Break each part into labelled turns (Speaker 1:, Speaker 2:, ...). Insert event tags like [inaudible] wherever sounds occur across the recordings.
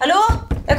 Speaker 1: Hallo? Jeg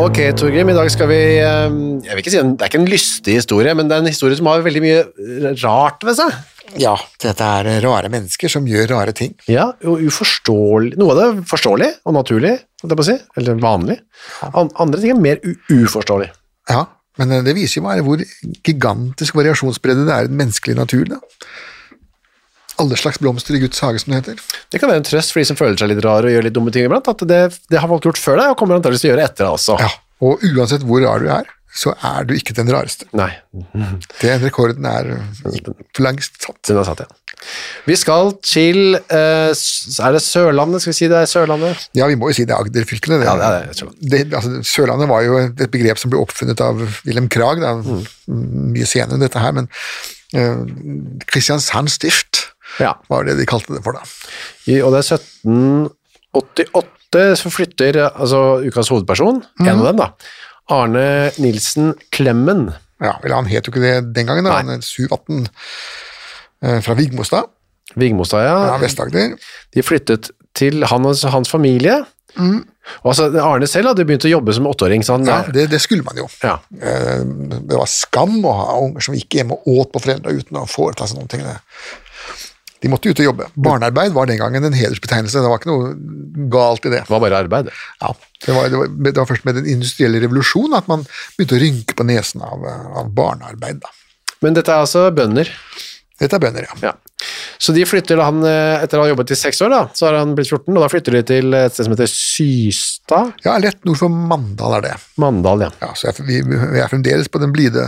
Speaker 2: Ok, Torgrim, i dag skal vi eh, Jeg vil ikke si en, Det er ikke en lystig historie, men det er en historie som har veldig mye rart ved seg.
Speaker 3: Ja, dette er rare mennesker som gjør rare ting.
Speaker 2: Ja, og uforståelig Noe av det er forståelig og naturlig, holdt jeg på å si, eller vanlig. An, andre ting er mer u uforståelig.
Speaker 3: Ja, men eh, det viser jo bare hvor gigantisk variasjonsbredde det er i den menneskelige naturen. Da. Alle slags blomster i Guds hage, som det heter.
Speaker 2: Det kan være en trøst for de som føler seg litt rare og gjør litt dumme ting iblant, at det, det har folk gjort før deg, og kommer antakeligvis til å gjøre etter deg også.
Speaker 3: Ja, og uansett hvor rar du er, så er du ikke den rareste.
Speaker 2: Nei,
Speaker 3: Den rekorden er for langst satt.
Speaker 2: den er satt, ja. Vi skal til eh, s- Er det Sørlandet? Skal vi si det er Sørlandet?
Speaker 3: Ja, vi må jo si det er Agder-fylkene.
Speaker 2: Ja, det er det, Sørlandet.
Speaker 3: det, altså, Sørlandet var jo et begrep som ble oppfunnet av Wilhelm Krag, da,
Speaker 2: Mm.
Speaker 3: mye senere enn dette her, men eh, Kristiansand stift
Speaker 2: Ja.
Speaker 3: var det de kalte det for da.
Speaker 2: I, og det er 1788 som flytter altså ukas hovedperson, en
Speaker 3: Mhm.
Speaker 2: av dem da, Arne Nilsen Klemmen.
Speaker 3: Ja, eller han het jo ikke det den gangen, da. han het Suvatn eh, fra Vigmostad,
Speaker 2: Vigmostad,
Speaker 3: fra
Speaker 2: ja.
Speaker 3: Vest-Agder.
Speaker 2: De flyttet til han og hans familie. Og altså, Arne selv hadde begynt å jobbe som åtteåring, så han...
Speaker 3: Mhm. Ja, det, det skulle man jo.
Speaker 2: Ja.
Speaker 3: Eh, Det var skam å ha unger som gikk hjemme og åt på foreldra uten å foreta seg noen ting. Det- De måtte ut og jobbe. Barnearbeid var den gangen en hedersbetegnelse, det var ikke noe galt i det.
Speaker 2: Det var bare arbeid.
Speaker 3: Ja, det var, det, var, det var først med den industrielle revolusjonen at man begynte å rynke på nesen av, eh, av barnearbeid. Da.
Speaker 2: Men dette er altså bønder.
Speaker 3: Dette er bønder, ja.
Speaker 2: Ja. Så de flytter da han, eh, etter å ha jobbet i seks år da, så har han blitt 14, og da flytter de til et sted som heter Systad,
Speaker 3: Ja, Rett nord for Mandal er det.
Speaker 2: Mandal, ja.
Speaker 3: Ja, så jeg, vi, vi er fremdeles på den blide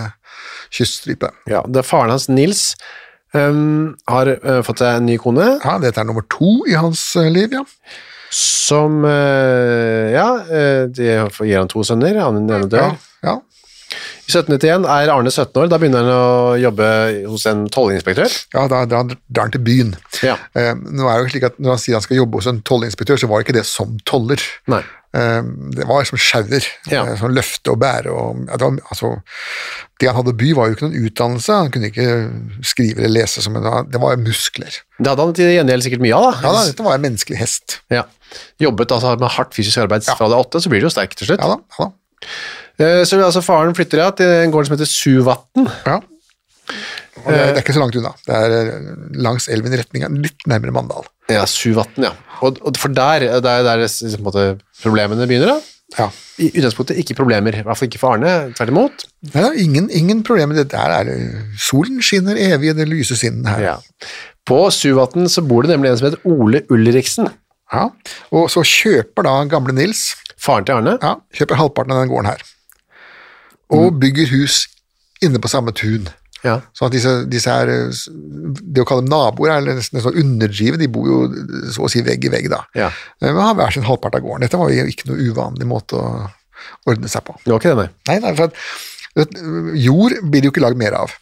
Speaker 3: kyststripe.
Speaker 2: Ja, det er faren hans, Nils, ehm, har eh, fått seg en ny kone,
Speaker 3: Ja, dette er nummer to i hans eh, liv, ja.
Speaker 2: som eh, Ja, eh, de gir han to sønner, han ene dør.
Speaker 3: Ja, ja.
Speaker 2: I 1791 er Arne 17 år, da begynner han å jobbe hos en tollinspektør.
Speaker 3: ja da drar han- drar han til byen.
Speaker 2: Ja.
Speaker 3: Eh, nå er det jo slik at Når han sier han skal jobbe hos en tollinspektør, så var det ikke det som toller.
Speaker 2: Nei.
Speaker 3: Eh, det var som sjauer.
Speaker 2: Ja.
Speaker 3: eh, Som løfte og bære. Og, ja, det, var, altså, det han hadde by, var jo ikke noen utdannelse. Han kunne ikke skrive eller lese. Som en, det var muskler.
Speaker 2: Det hadde han til gjengjeld sikkert mye av, da.
Speaker 3: Ja da, Dette var en menneskelig hest.
Speaker 2: Ja. Jobbet altså med hardt fysisk arbeid fra det er åtte, så blir du jo sterk til slutt.
Speaker 3: Ja da, ja da.
Speaker 2: Eh, Så altså faren flytter ja, til en gård som heter Suvatn.
Speaker 3: Ja. Og det, er, det er ikke så langt unna. Det er eh, langs elven i retning av litt nærmere Mandal.
Speaker 2: Ja, Suvatn, ja. Og, og for der, det er der liksom, på en måte, problemene begynner, da.
Speaker 3: Ja.
Speaker 2: I utgangspunktet ikke problemer, i hvert fall ikke for Arne, tvert imot.
Speaker 3: Nei, da, ingen, ingen problemer. Det der er eh, Solen skinner evig i det lyse sinnen her.
Speaker 2: På Suvatn så bor det nemlig en som heter Ole Ulriksen,
Speaker 3: Ja. Og så kjøper da gamle Nils
Speaker 2: faren til Arne.
Speaker 3: ja, kjøper halvparten av den gården her. Og bygger hus inne på samme tun.
Speaker 2: Ja.
Speaker 3: Sånn at disse, disse her, eh, s- Det å kalle dem naboer er nesten en sånn underdrive, de bor jo eh, så å si vegg i vegg, da.
Speaker 2: Ja.
Speaker 3: Eh, Men har hver sin halvpart av gården. Dette var jo ikke noe uvanlig måte å ordne seg på.
Speaker 2: Det var ikke det, nei.
Speaker 3: Nei, nei, for at, vet, du, jord blir det jo ikke lagd mer av.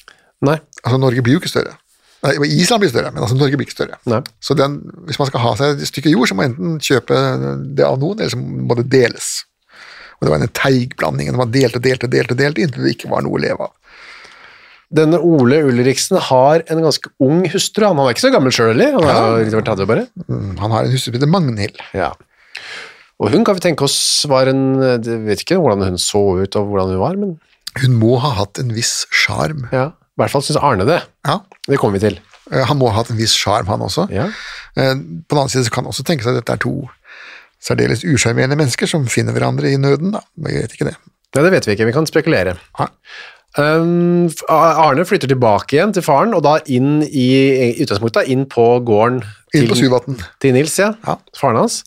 Speaker 2: Nei.
Speaker 3: Altså, Norge blir jo ikke større. Nei, og Island blir større, men altså Norge blir ikke større.
Speaker 2: Nei.
Speaker 3: Så den, hvis man skal ha seg et stykke jord, så må man enten kjøpe det av noen, eller så må det deles. Og det var en teigblanding. Man delte, delte, delte, delte inntil det ikke var noe å leve av.
Speaker 2: Denne Ole Ulriksen har en ganske ung hustru. Han er ikke så gammel sjøl heller, han er jo litt over 30 bare.
Speaker 3: Mm, Han har en hustru som heter Magnhild.
Speaker 2: Ja. Og hun kan vi tenke oss var en Jeg vet ikke hvordan hun så ut og hvordan hun var, men
Speaker 3: Hun må ha hatt en viss sjarm.
Speaker 2: ja. i hvert fall syns Arne det.
Speaker 3: Ja.
Speaker 2: Det kommer vi til.
Speaker 3: Eh, Han må ha hatt en viss sjarm, han også.
Speaker 2: Ja.
Speaker 3: Eh, På den annen side så kan man også tenke seg at dette er to særdeles usjarmerende mennesker som finner hverandre i nøden, da. Men Jeg vet ikke det.
Speaker 2: Nei, det vet vi ikke. Vi kan spekulere.
Speaker 3: Ja.
Speaker 2: Um, Arne flytter tilbake igjen til faren, og da inn i, i utgangspunktet da, inn på gården
Speaker 3: Inn på Suvatn.
Speaker 2: til Nils, ja.
Speaker 3: Ja. Mm.
Speaker 2: Faren hans.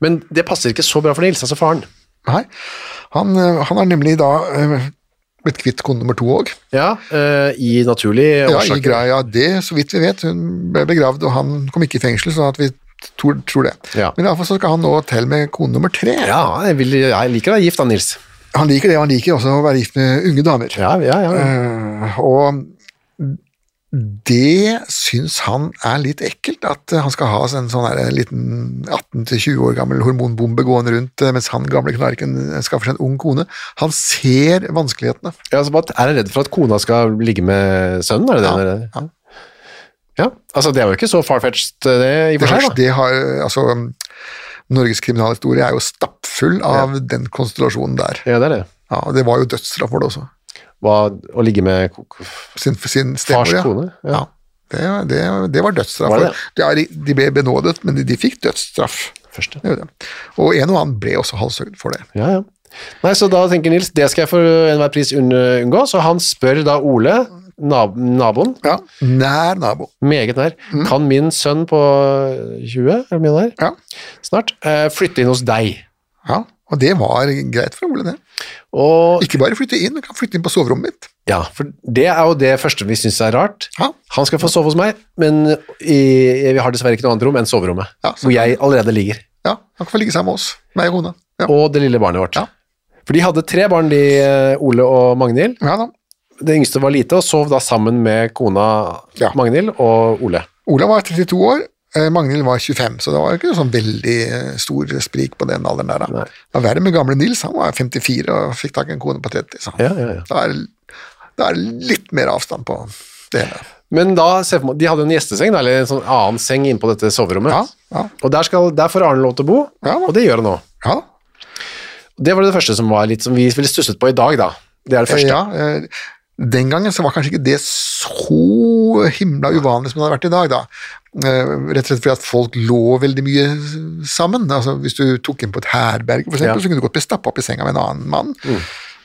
Speaker 2: Men det passer ikke så bra for Nils, altså faren.
Speaker 3: Nei. Han, eh, han har nemlig da eh, blitt kvitt kone nummer to òg.
Speaker 2: Ja, eh, I naturlige
Speaker 3: Ja, i
Speaker 2: årsaker.
Speaker 3: greia det, så vidt vi vet. Hun ble begravd, og han kom ikke i fengsel, sånn at vi tror, tror det.
Speaker 2: Ja.
Speaker 3: Men iallfall så skal han nå til med kone nummer tre.
Speaker 2: ja, jeg, vil, jeg liker å være gift, da, Nils.
Speaker 3: Han liker det, og han liker også å være gift med unge damer.
Speaker 2: Ja, ja, ja.
Speaker 3: Eh, Og det syns han er litt ekkelt, at han skal ha en sånn her liten 18-20 år gammel hormonbombe gående rundt eh, mens han gamle knarken skaffer seg en ung kone. Han ser vanskelighetene.
Speaker 2: Ja, altså, bare er jeg redd for at kona skal ligge med sønnen, er det det? eller?
Speaker 3: Ja.
Speaker 2: ja. Altså, det er jo ikke så farfetched, det, i og
Speaker 3: Det,
Speaker 2: for
Speaker 3: har,
Speaker 2: seg, da.
Speaker 3: det har, altså, Norges kriminalhistorie er jo stappfull av den konstellasjonen der.
Speaker 2: Ja, det er det.
Speaker 3: Ja, og Det var jo dødsstraff for det også.
Speaker 2: Hva, å ligge med ko- ko-
Speaker 3: Sin, sin stemor,
Speaker 2: fars
Speaker 3: ja.
Speaker 2: kone?
Speaker 3: ja. Det, det, det var dødsstraff.
Speaker 2: Var det det?
Speaker 3: Ja, de, de ble benådet, men de, de fikk dødsstraff.
Speaker 2: Første.
Speaker 3: Det er jo det. Og en og annen ble også halshøyd for det.
Speaker 2: Ja, ja. Nei, så da tenker Nils, det skal jeg for enhver pris unn- unngå, så han spør da Ole, nab naboen,
Speaker 3: Ja. Nær nabo.
Speaker 2: meget nær,
Speaker 3: Mm.
Speaker 2: kan min sønn på 20, er det min der,
Speaker 3: Ja.
Speaker 2: snart, eh, flytte inn hos deg?
Speaker 3: ja. Og det var greit for Ole, det.
Speaker 2: Og,
Speaker 3: Ikke bare flytte inn, men kan flytte inn på soverommet mitt.
Speaker 2: ja, for det er jo det første vi synes er rart.
Speaker 3: Ja.
Speaker 2: Han skal få sove hos meg, men i, vi har dessverre ikke noe annet rom enn soverommet,
Speaker 3: Ja, så
Speaker 2: hvor jeg allerede ligger,
Speaker 3: Ja, Han kan få ligge sammen med oss, meg og kona. Ja.
Speaker 2: og det lille barnet vårt. For de hadde tre barn, de, eh, Ole og Magnhild.
Speaker 3: ja da.
Speaker 2: Det yngste var lite, og sov da sammen med kona
Speaker 3: Ja.
Speaker 2: Magnhild og Ole.
Speaker 3: Olav var 32 år, eh, Magnhild var 25, så det var jo ikke noe sånn veldig eh, stor sprik på den alderen der. Da. Det var verre med gamle Nils, han var 54 og fikk tak i en kone på 30. Så.
Speaker 2: Ja, ja, ja.
Speaker 3: Da, er, da er det litt mer avstand på det hele.
Speaker 2: Men da, se for meg- de hadde en gjesteseng, da, eller en sånn annen seng inne på dette soverommet.
Speaker 3: Ja, ja.
Speaker 2: Og der, skal, der får Arne lov til å bo,
Speaker 3: Ja, da.
Speaker 2: og det gjør han nå.
Speaker 3: Ja da.
Speaker 2: Det var det første som, var litt, som vi ville stusset på i dag, da. Det er det første.
Speaker 3: Ja, eh, den gangen så var kanskje ikke det så himla uvanlig som det hadde vært i dag, da. Eh, Rett og slett fordi at folk lå veldig mye sammen. Altså, hvis du tok inn på et herberge, for eksempel,
Speaker 2: Ja. Mm.
Speaker 3: så kunne du godt bli stappa opp i senga med en annen mann.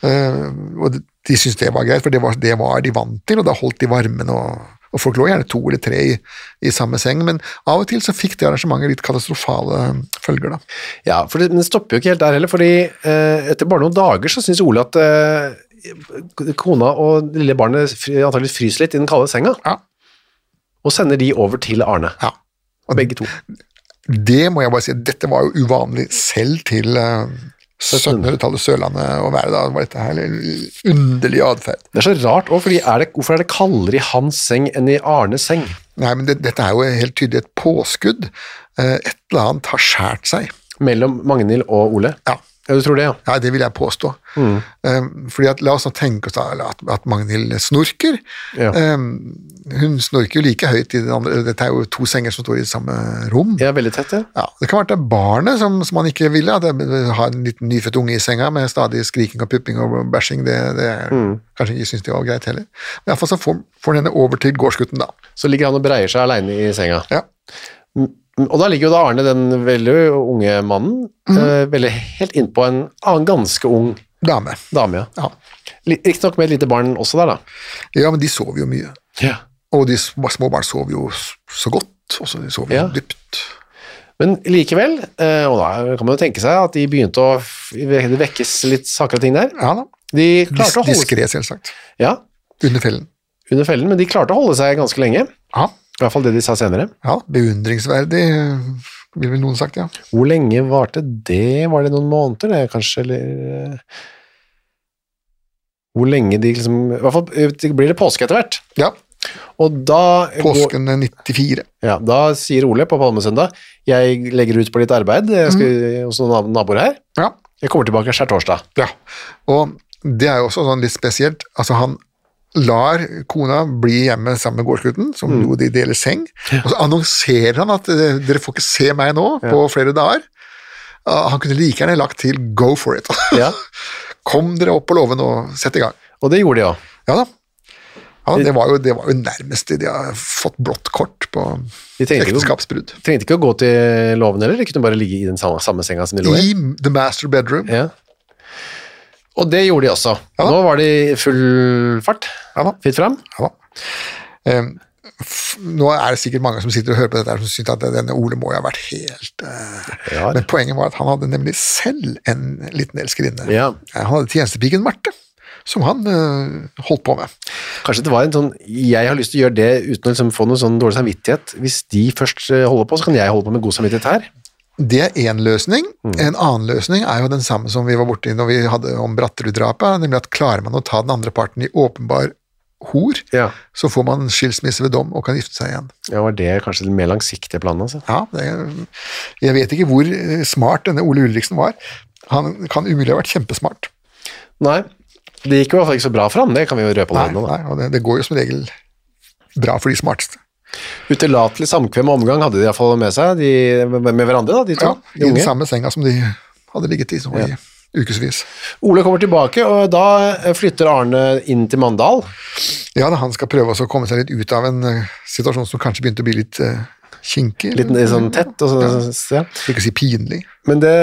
Speaker 3: Eh, og de syntes det var greit, for det var, det var de vant til, og da holdt de varmen. og, og Folk lå gjerne to eller tre i, i samme seng, men av og til så fikk det arrangementet litt katastrofale følger. da.
Speaker 2: Ja, for det, Men det stopper jo ikke helt der heller, fordi eh, etter bare noen dager så syns Ole at eh, kona og lille barnet fry- antageligvis fryser litt i den kalde senga,
Speaker 3: Ja.
Speaker 2: og sender de over til Arne.
Speaker 3: Ja. Og
Speaker 2: Begge to.
Speaker 3: Det må jeg bare si, dette var jo uvanlig selv til eh, 1700-tallet Sørlandet å være da. Det var dette her litt underlig atferd.
Speaker 2: Det er så rart òg, for hvorfor er det kaldere i hans seng enn i Arnes seng?
Speaker 3: Nei, men det, dette er jo helt tydelig et påskudd. Eh, Et eller annet har skjært seg.
Speaker 2: Mellom Magnhild og Ole?
Speaker 3: Ja.
Speaker 2: ja du tror det, ja?
Speaker 3: Ja, det vil jeg påstå. Eh, Fordi at, La oss nå tenke oss da, at, at Magnhild snorker.
Speaker 2: Ja.
Speaker 3: Eh, Hun snorker jo like høyt i den andre Dette er jo to senger som står i samme rom.
Speaker 2: Ja, veldig tett, ja.
Speaker 3: Ja, Det kan være at det er barnet som, som man ikke ville. At det har en liten nyfødt unge i senga med stadig skriking og pupping og bæsjing. Det, det er,
Speaker 2: Mm.
Speaker 3: Kanskje ikke syns det var greit heller. Men iallfall så får får den henne over til gårdsgutten, da.
Speaker 2: Så ligger han og breier seg aleine i senga. Mm,
Speaker 3: Ja.
Speaker 2: Og da ligger jo da Arne, den veldig unge mannen, eh, veldig helt innpå en annen ganske ung
Speaker 3: Dame.
Speaker 2: dame. ja.
Speaker 3: Ja.
Speaker 2: Riktignok med et lite barn også der, da.
Speaker 3: ja, men de sover jo mye.
Speaker 2: Ja.
Speaker 3: Og de sm- små barn sover jo s- så godt. Og så de sover
Speaker 2: Ja.
Speaker 3: jo dypt.
Speaker 2: Men likevel, eh, og da kan man jo tenke seg at de begynte å f- Det vekkes litt saker og ting der.
Speaker 3: Ja da.
Speaker 2: De klarte å
Speaker 3: Dis
Speaker 2: holde seg
Speaker 3: Diskré, selvsagt.
Speaker 2: ja,
Speaker 3: Under fellen.
Speaker 2: under fellen, men de klarte å holde seg ganske lenge.
Speaker 3: Ja.
Speaker 2: I hvert fall det de sa senere.
Speaker 3: ja. Beundringsverdig, vil vel noen sagt, ja.
Speaker 2: Hvor lenge varte det? Var det noen måneder, det, kanskje? Eller eh, Hvor lenge de liksom I hvert fall eh, det blir det påske etter hvert.
Speaker 3: Ja,
Speaker 2: Og da går,
Speaker 3: Påsken 94.
Speaker 2: ja, da sier Ole på Palmesøndag Jeg legger ut på litt arbeid jeg skal,
Speaker 3: Mm.
Speaker 2: hos noen nab- naboer her.
Speaker 3: Ja.
Speaker 2: Jeg kommer tilbake skjærtorsdag.
Speaker 3: Ja, og det er jo også sånn litt spesielt. Altså, han lar kona bli hjemme sammen med gårdsgutten, som jo de deler seng, og så annonserer han at eh, dere får ikke se meg nå på flere dager. Ah, Han kunne like gjerne lagt til 'go for it'. [laughs]
Speaker 2: Ja.
Speaker 3: Kom dere opp på låven og sett i gang.
Speaker 2: Og det gjorde de òg.
Speaker 3: Ja da. Ja, det, var jo, det var jo nærmest det de har fått blått kort på
Speaker 2: De tenkte ikke,
Speaker 3: ekteskapsbrudd.
Speaker 2: trengte ikke å gå til låven heller, de kunne bare ligge i den samme, samme senga som de lå i.
Speaker 3: I the master bedroom.
Speaker 2: Ja. Og det gjorde de også.
Speaker 3: Ja da.
Speaker 2: Nå var det i full fart.
Speaker 3: Ja da.
Speaker 2: Fritt fram.
Speaker 3: Ja da. Em, f- nå er det sikkert mange som sitter og hører på dette her som syns at denne Ole må jo ha vært helt eh,
Speaker 2: Rar.
Speaker 3: Men poenget var at han hadde nemlig selv en liten elskerinne.
Speaker 2: Ja.
Speaker 3: Eh, Han hadde tjenestepiken Marte, som han eh, holdt på med.
Speaker 2: Kanskje det var en sånn Jeg har lyst til å gjøre det uten å liksom få noe sånn dårlig samvittighet. Hvis de først eh, holder på, så kan jeg holde på med god samvittighet her.
Speaker 3: Det er én løsning. En annen løsning er jo den samme som vi var borti når vi hadde om Bratterud-drapet, nemlig at klarer man å ta den andre parten i åpenbar hor,
Speaker 2: Ja.
Speaker 3: så får man skilsmisse ved dom og kan gifte seg igjen.
Speaker 2: Ja, var det kanskje den mer langsiktige planen, altså?
Speaker 3: Ja, det, jeg vet ikke hvor eh, smart denne Ole Ulriksen var. Han kan umulig ha vært kjempesmart.
Speaker 2: Nei. Det gikk i hvert fall ikke så bra for ham, det kan vi jo røpe
Speaker 3: Nei,
Speaker 2: allerede nå. da.
Speaker 3: nei, og det, det går jo som regel bra for de smarteste.
Speaker 2: Utillatelig samkvem og omgang hadde de iallfall med seg, de, med med hverandre, da, de to.
Speaker 3: Ja, I
Speaker 2: de
Speaker 3: den
Speaker 2: unge.
Speaker 3: samme senga som de hadde ligget i nå i ukevis.
Speaker 2: Ole kommer tilbake, og da eh, flytter Arne inn til Mandal.
Speaker 3: Ja, da, han skal prøve også å komme seg litt ut av en eh, situasjon som kanskje begynte å bli litt eh, kinkig.
Speaker 2: Litt eh, sånn tett. Og så, ja.
Speaker 3: For ikke å si pinlig.
Speaker 2: Men det,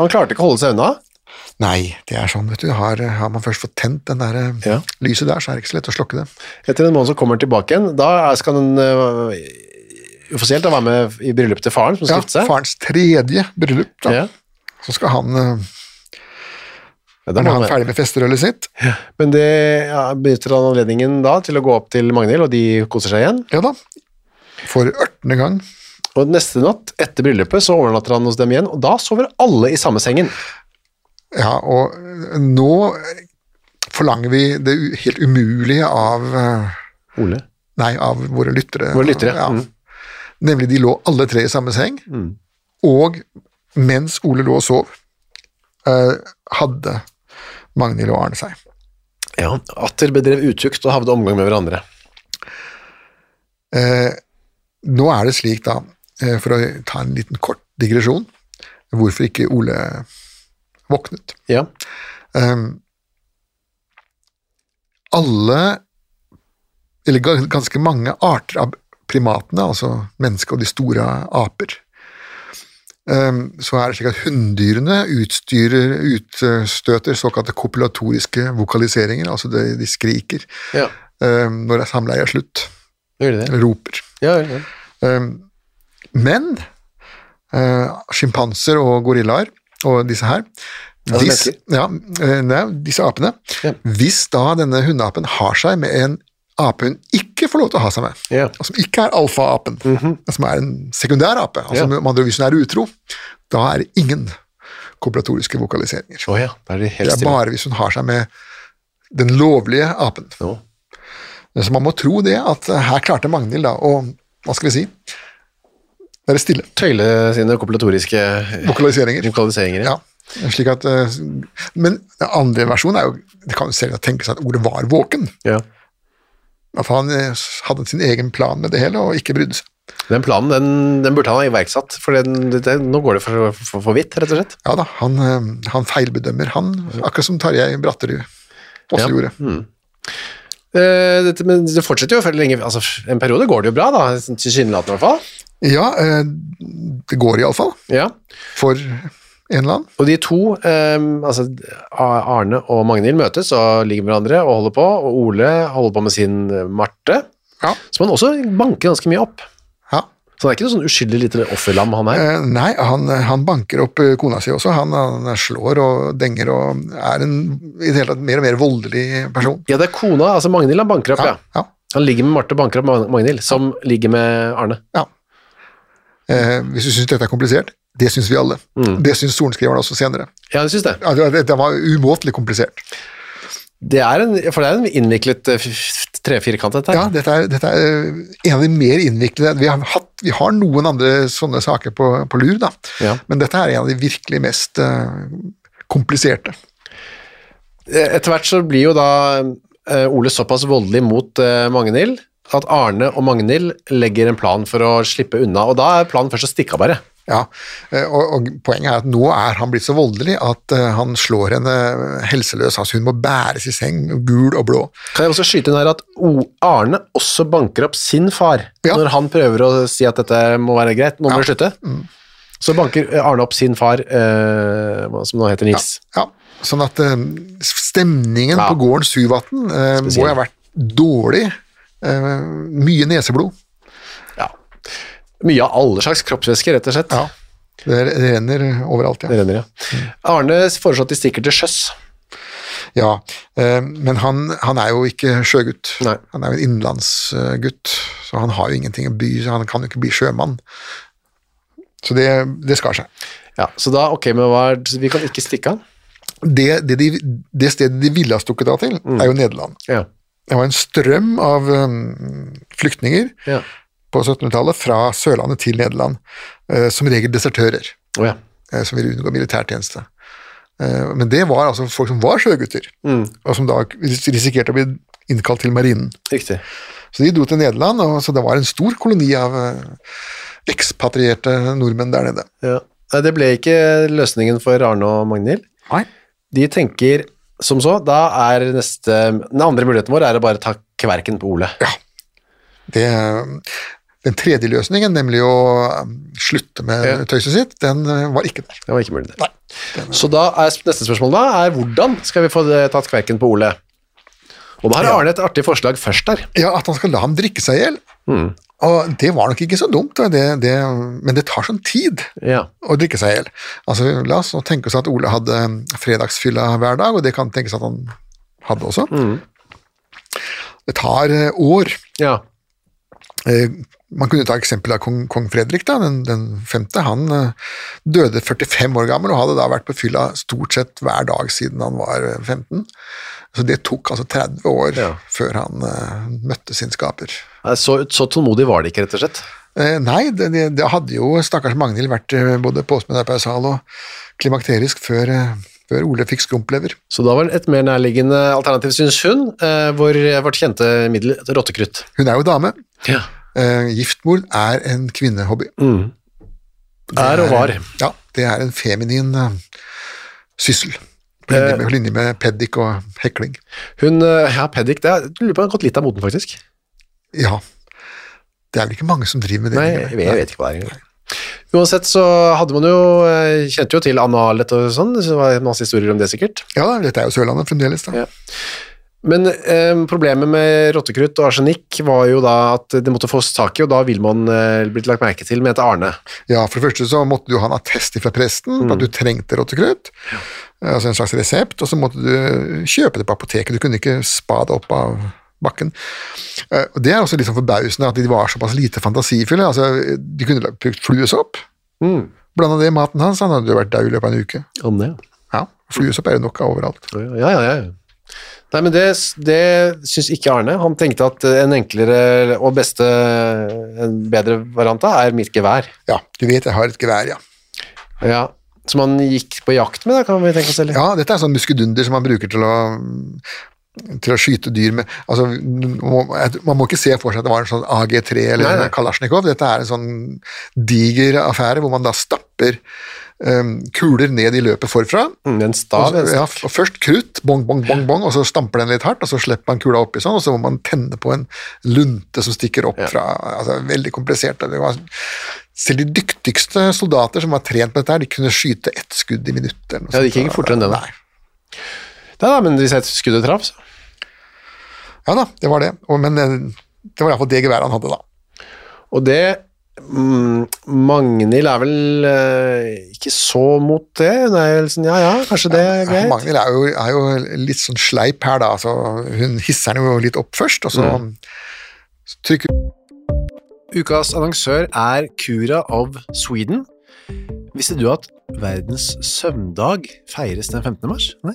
Speaker 2: han klarte ikke å holde seg unna.
Speaker 3: Nei, det er sånn, vet du. Har, har man først fått tent den der eh,
Speaker 2: Ja.
Speaker 3: lyset der, så er det ikke så lett å slokke det.
Speaker 2: Etter en måned så kommer han tilbake igjen. Da er- skal han øh, offisielt da være med i bryllupet til faren som
Speaker 3: Ja,
Speaker 2: skal gifte seg.
Speaker 3: farens tredje bryllup, da.
Speaker 2: Ja.
Speaker 3: Så skal han eh,
Speaker 2: Ja, da
Speaker 3: Er
Speaker 2: må
Speaker 3: han
Speaker 2: han være.
Speaker 3: ferdig med festerølet sitt?
Speaker 2: Men det ja, benytter han anledningen da til å gå opp til Magnhild, og de koser seg igjen.
Speaker 3: Ja da. For ørtende gang.
Speaker 2: Og neste natt, etter bryllupet, så overnatter han hos dem igjen, og da sover alle i samme sengen.
Speaker 3: Ja, og nå forlanger vi det u- helt umulige av eh,
Speaker 2: Ole.
Speaker 3: Nei, av våre lyttere.
Speaker 2: Våre lyttere,
Speaker 3: Ja.
Speaker 2: mm.
Speaker 3: Nemlig, de lå alle tre i samme seng, og mens Ole lå og sov, eh, hadde Magnhild og Arne seg.
Speaker 2: Ja, Atter bedrev utukt og havde omgang med hverandre.
Speaker 3: Eh, nå er det slik, da, eh, for å ta en liten kort digresjon, hvorfor ikke Ole våknet.
Speaker 2: Ja,
Speaker 3: Ehm, alle, eller ga- ganske mange arter av primatene, altså mennesket og de store aper, ehm, så er det slik at hunndyrene utstyrer, utstøter såkalte kopulatoriske vokaliseringer, altså de, de skriker
Speaker 2: ja.
Speaker 3: ehm, når samleiet er slutt,
Speaker 2: Gjør de det?
Speaker 3: eller roper.
Speaker 2: Ja, ja.
Speaker 3: Ehm, Men uh, sjimpanser og gorillaer og disse her
Speaker 2: Altså
Speaker 3: hvis, ja, eh, nei, disse apene.
Speaker 2: Ja.
Speaker 3: Hvis da denne hundeapen har seg med en ape hun ikke får lov til å ha seg med,
Speaker 2: Ja.
Speaker 3: og som ikke er alfaapen, som er en sekundær ape, altså
Speaker 2: Mhm. Ja.
Speaker 3: med andre ord hvis hun er utro, da er det ingen kooperatoriske vokaliseringer.
Speaker 2: Å ja, da er de
Speaker 3: Det
Speaker 2: helt
Speaker 3: er
Speaker 2: stille.
Speaker 3: bare hvis hun har seg med den lovlige apen.
Speaker 2: Nå.
Speaker 3: Så man må tro det, at eh, her klarte Magnhild da å Hva skal vi si? Være stille.
Speaker 2: Tøyle sine kompilatoriske
Speaker 3: Vokaliseringer.
Speaker 2: lokaliseringer.
Speaker 3: Ja. Slik at, eh, men den andre versjonen er jo Det kan jo selv tenkes at ordet var våken.
Speaker 2: Ja.
Speaker 3: At han eh, hadde sin egen plan med det hele og ikke brydde seg.
Speaker 2: Den planen den, den burde han ha iverksatt, for den, det, det, nå går det for, for, for vidt, rett og slett.
Speaker 3: Ja da, han, eh, han feilbedømmer, han. Akkurat som Tarjei Bratterud også
Speaker 2: Ja.
Speaker 3: gjorde.
Speaker 2: Eh, dette, men det fortsetter jo for lenge, altså en periode går det jo bra, da, sånn tilsynelatende i hvert fall.
Speaker 3: Ja, eh, det går iallfall.
Speaker 2: Ja.
Speaker 3: For en eller annen.
Speaker 2: Og de to, eh, altså A- Arne og Magnhild møtes og ligger med hverandre og holder på, og Ole holder på med sin eh, Marte,
Speaker 3: Ja.
Speaker 2: som han også banker ganske mye opp.
Speaker 3: ja.
Speaker 2: Så han er ikke noe sånn uskyldig lite offerlam han er.
Speaker 3: Eh, Nei, han, han banker opp eh, kona si også. Han, han slår og denger og er en i det hele tatt mer og mer voldelig person.
Speaker 2: Ja, det er kona, altså Magnhild han banker opp, ja.
Speaker 3: ja.
Speaker 2: Han ligger med Marte og banker opp Mag- Magnhild, som ligger med Arne.
Speaker 3: ja. Eh, hvis du syns dette er komplisert, det syns vi
Speaker 2: Mm.
Speaker 3: alle. Det syns sorenskriveren også senere.
Speaker 2: Ja, jeg synes det.
Speaker 3: Ja, det- det- Dette var umåtelig komplisert.
Speaker 2: Det er en, for det er en innviklet eh, f- f- trefirkant, dette. her.
Speaker 3: Ja, dette er, dette er eh, en av de mer innviklede. Vi har, hatt, vi har noen andre sånne saker på, på lur, da.
Speaker 2: Ja.
Speaker 3: men dette er en av de virkelig mest eh, kompliserte.
Speaker 2: Etter hvert så blir jo da eh, Ole såpass voldelig mot eh, Magnhild at Arne og Magnhild legger en plan for å slippe unna, og da er planen først å stikke av bare.
Speaker 3: Ja, eh, og, og Poenget er at nå er han blitt så voldelig at eh, han slår henne helseløs. Altså hun må bæres i seng, gul og blå.
Speaker 2: Kan jeg også skyte inn her at O- Arne også banker opp sin far
Speaker 3: Ja.
Speaker 2: når han prøver å si at dette må være greit, nå må vi slutte.
Speaker 3: Mm.
Speaker 2: Så banker eh, Arne opp sin far, eh, hva- som nå heter Nils.
Speaker 3: Ja, sånn at eh, stemningen
Speaker 2: Ja.
Speaker 3: på gården Syvatn eh, må
Speaker 2: Spesiell.
Speaker 3: ha vært dårlig. Eh, mye neseblod.
Speaker 2: Ja. Mye av alle slags kroppsvæsker, rett og slett.
Speaker 3: Ja. Mm. Det det renner overalt,
Speaker 2: Det
Speaker 3: ja.
Speaker 2: renner, ja. Arne foreslår at de stikker til sjøs.
Speaker 3: ja eh, men han, han er jo ikke sjøgutt.
Speaker 2: Nei.
Speaker 3: Han er jo en innenlandsgutt, så han har jo ingenting å by, så han kan jo ikke bli sjømann. Så det, det skar seg.
Speaker 2: Ja, så da, ok, men hva er, så vi kan ikke stikke av.
Speaker 3: Det, det, de, det stedet de ville ha stukket av til, er jo Nederland.
Speaker 2: Ja.
Speaker 3: Det var en strøm av eh, flyktninger
Speaker 2: Ja.
Speaker 3: på 1700-tallet fra Sørlandet til Nederland. eh, Som regel desertører
Speaker 2: Å ja.
Speaker 3: eh, som ville unngå militærtjeneste. Eh, Men det var altså folk som var sjøgutter, og som da ris- risikerte å bli innkalt til marinen.
Speaker 2: Riktig.
Speaker 3: Så de dro til Nederland, og så det var en stor koloni av eh, ekspatrierte nordmenn der nede.
Speaker 2: Ja. Nei, Det ble ikke løsningen for Arne og Magnhild.
Speaker 3: Nei.
Speaker 2: De tenker som så, da er neste Den andre muligheten vår er å bare ta kverken på Ole.
Speaker 3: Det, den tredje løsningen, nemlig å eh, slutte med
Speaker 2: Ja.
Speaker 3: tøyset sitt, den eh, var ikke der.
Speaker 2: Det var ikke mulig. det. Så da er sp- neste spørsmål da er hvordan skal vi få det, tatt kverken på Ole? Og da har Arne et artig forslag først der.
Speaker 3: Ja, At han skal la ham drikke seg i hjel. Og det var nok ikke så dumt, da, det, det, men det tar sånn tid.
Speaker 2: Ja.
Speaker 3: å drikke seg i hjel. Altså, la oss nå tenke oss at Ole hadde mm, fredagsfylla hver dag, og det kan tenkes at han hadde også. Det tar eh, år.
Speaker 2: ja.
Speaker 3: Eh, Man kunne ta eksempel av kong, kong Fredrik, da, den, den femte. Han eh, døde 45 år gammel og hadde da vært på fylla stort sett hver dag siden han var eh, 15. Så det tok altså 30 år
Speaker 2: Ja.
Speaker 3: før han eh, møtte sin skaper.
Speaker 2: Nei, Så, så tålmodig var det ikke, rett og slett.
Speaker 3: Eh, Nei, det, det, det hadde jo stakkars Magnhild vært eh, både påsmenopausal og klimakterisk før, eh, før Ole fikk skrumplever.
Speaker 2: Så da var det et mer nærliggende alternativ, syns hun, eh, hvor vårt kjente middel rottekrutt.
Speaker 3: Hun er jo dame.
Speaker 2: Ja.
Speaker 3: Eh, Giftmord er en kvinnehobby.
Speaker 2: Er og var.
Speaker 3: Ja, det er en feminin eh, syssel. På linje
Speaker 2: Eh.
Speaker 3: med, på linje med peddik og hekling.
Speaker 2: Hun, eh, ja, Peddik, det er, jeg lurer på om hun har gått litt av moten, faktisk.
Speaker 3: Ja. Det er vel ikke mange som driver med det?
Speaker 2: Nei,
Speaker 3: lenger.
Speaker 2: jeg, jeg vet ikke hva det er engang. Uansett så hadde man jo, eh, kjente jo til analet og sånn, så det var masse historier om det sikkert.
Speaker 3: Ja da, dette er jo Sørlandet fremdeles, da.
Speaker 2: Ja. Men eh, problemet med rottekrutt og arsenikk var jo da at det måtte fås tak i, og da vil man eh, blitt lagt merke til med et Arne.
Speaker 3: Ja, for det første så måtte du ha en attest fra presten
Speaker 2: Mm.
Speaker 3: på at du trengte rottekrutt, altså en slags resept, og så måtte du kjøpe det på apoteket, du kunne ikke spa det opp av bakken. Eh, Og Det er også litt sånn forbausende at de var såpass lite fantasifulle, altså de kunne lagt- brukt fluesopp,
Speaker 2: Mm.
Speaker 3: blanda det i maten hans, han hadde jo vært død i løpet av en uke.
Speaker 2: Anne, ja.
Speaker 3: Ja, fluesopp er det nok av overalt.
Speaker 2: Ja, ja, ja. Nei, men det, det syns ikke Arne. Han tenkte at en enklere og beste, en bedre variant da, er mitt gevær.
Speaker 3: Ja, du vet jeg har et gevær, ja.
Speaker 2: Ja, som han gikk på jakt med, da, kan vi tenke oss eller?
Speaker 3: Ja, dette er sånn muskedunder som man bruker til å til å skyte dyr med altså, Man må- man må ikke se for seg at det var en sånn AG3 eller
Speaker 2: Nei, nei.
Speaker 3: Kalasjnikov. Dette er en sånn diger affære hvor man da stapper um, kuler ned i løpet forfra.
Speaker 2: Mm, En
Speaker 3: Og,
Speaker 2: stav,
Speaker 3: så-
Speaker 2: en
Speaker 3: Altså, ja,
Speaker 2: stav.
Speaker 3: og først krutt, bong, bong, bong, bong, og så stamper den litt hardt, og så slipper man kula oppi sånn, og så må man tenne på en lunte som stikker opp fra altså, Veldig komplisert. Det var, selv de dyktigste soldater som var trent på dette, her, de kunne skyte ett skudd i minuttet. eller noe
Speaker 2: Ja, det
Speaker 3: sånt.
Speaker 2: gikk ikke fortere enn det, da.
Speaker 3: Nei.
Speaker 2: Nei, nei, men hvis jeg skuddet traff, så.
Speaker 3: Ja da, det var det. Og, men eh, det var iallfall det geværet han hadde da.
Speaker 2: Og det mm, Magnhild er vel eh, ikke så mot det. Hun er jo litt sånn, ja ja, kanskje det er greit.
Speaker 3: Magnhild er, jo- er jo litt sånn sleip her, da. Så hun hisser han jo litt opp først, og så
Speaker 2: Mm.
Speaker 3: så trykker
Speaker 2: Ukas annonsør er Cura of Sweden. Visste du at verdens søvndag feires den 15. mars? Nei.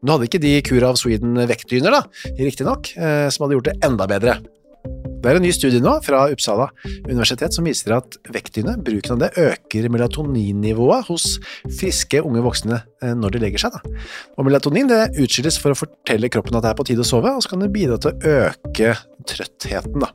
Speaker 2: Nå hadde ikke de Cure of Sweden vektdyner, da, riktignok, eh, som hadde gjort det enda bedre. Det er en ny studie nå fra Uppsala universitet som viser at vektdyne, bruken av det, øker melatoninnivået hos friske unge voksne eh, når de legger seg. Da. Og melatonin det utskilles for å fortelle kroppen at det er på tide å sove, og så kan det bidra til å øke trøttheten. Da.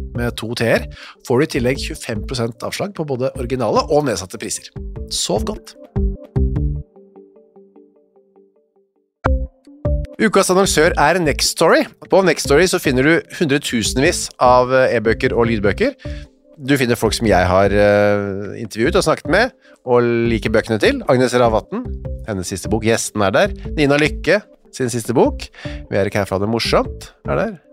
Speaker 2: med to t-er, får du i tillegg 25 avslag på både originale og nedsatte priser. Sov godt! Ukas annonsør er Nextory. På Nextory så finner du hundretusenvis av eh, e-bøker og lydbøker. Du finner folk som jeg har eh, intervjuet og snakket med, og liker bøkene til. Agnes Ravatn, hennes siste bok. Gjesten er der. Nina Lykke, sin siste bok. Vi er ikke her for å ha det morsomt. er der.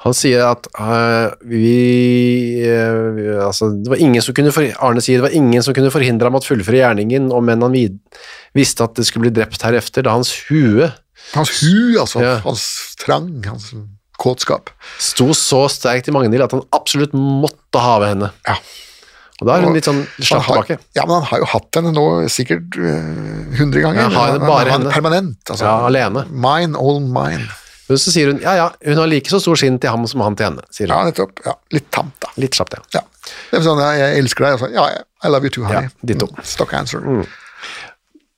Speaker 2: Han sier at eh, vi, eh, vi altså, det var ingen som kunne for, Arne sier det var ingen som kunne forhindre ham at fullføre gjerningen, og men han vid, visste at det skulle bli drept herefter, da hans hue
Speaker 3: Hans hu, altså.
Speaker 2: Ja.
Speaker 3: Hans trang, hans kåtskap.
Speaker 2: sto så sterkt i Magnhild at han absolutt måtte have henne.
Speaker 3: Ja.
Speaker 2: Og da er hun
Speaker 3: Og
Speaker 2: litt sånn
Speaker 3: Han
Speaker 2: slapp
Speaker 3: har-
Speaker 2: tilbake.
Speaker 3: Ja, men han har jo hatt henne nå sikkert øh, hundre ganger.
Speaker 2: Ja, han har henne
Speaker 3: Han-
Speaker 2: bare
Speaker 3: han-
Speaker 2: henne.
Speaker 3: Permanent, altså.
Speaker 2: Ja, alene.
Speaker 3: Mine, all mine.
Speaker 2: Men så sier hun ja, ja, hun har like så stor skinn til ham som han til henne. sier
Speaker 3: Ja,
Speaker 2: hun.
Speaker 3: nettopp. Ja, litt tamt, da.
Speaker 2: Litt slapt, ja.
Speaker 3: Ja. Det er sånn, ja, jeg elsker deg, og sånn, ja, I love you too, honey.
Speaker 2: Ja, ditto.
Speaker 3: Mm, Stock answer.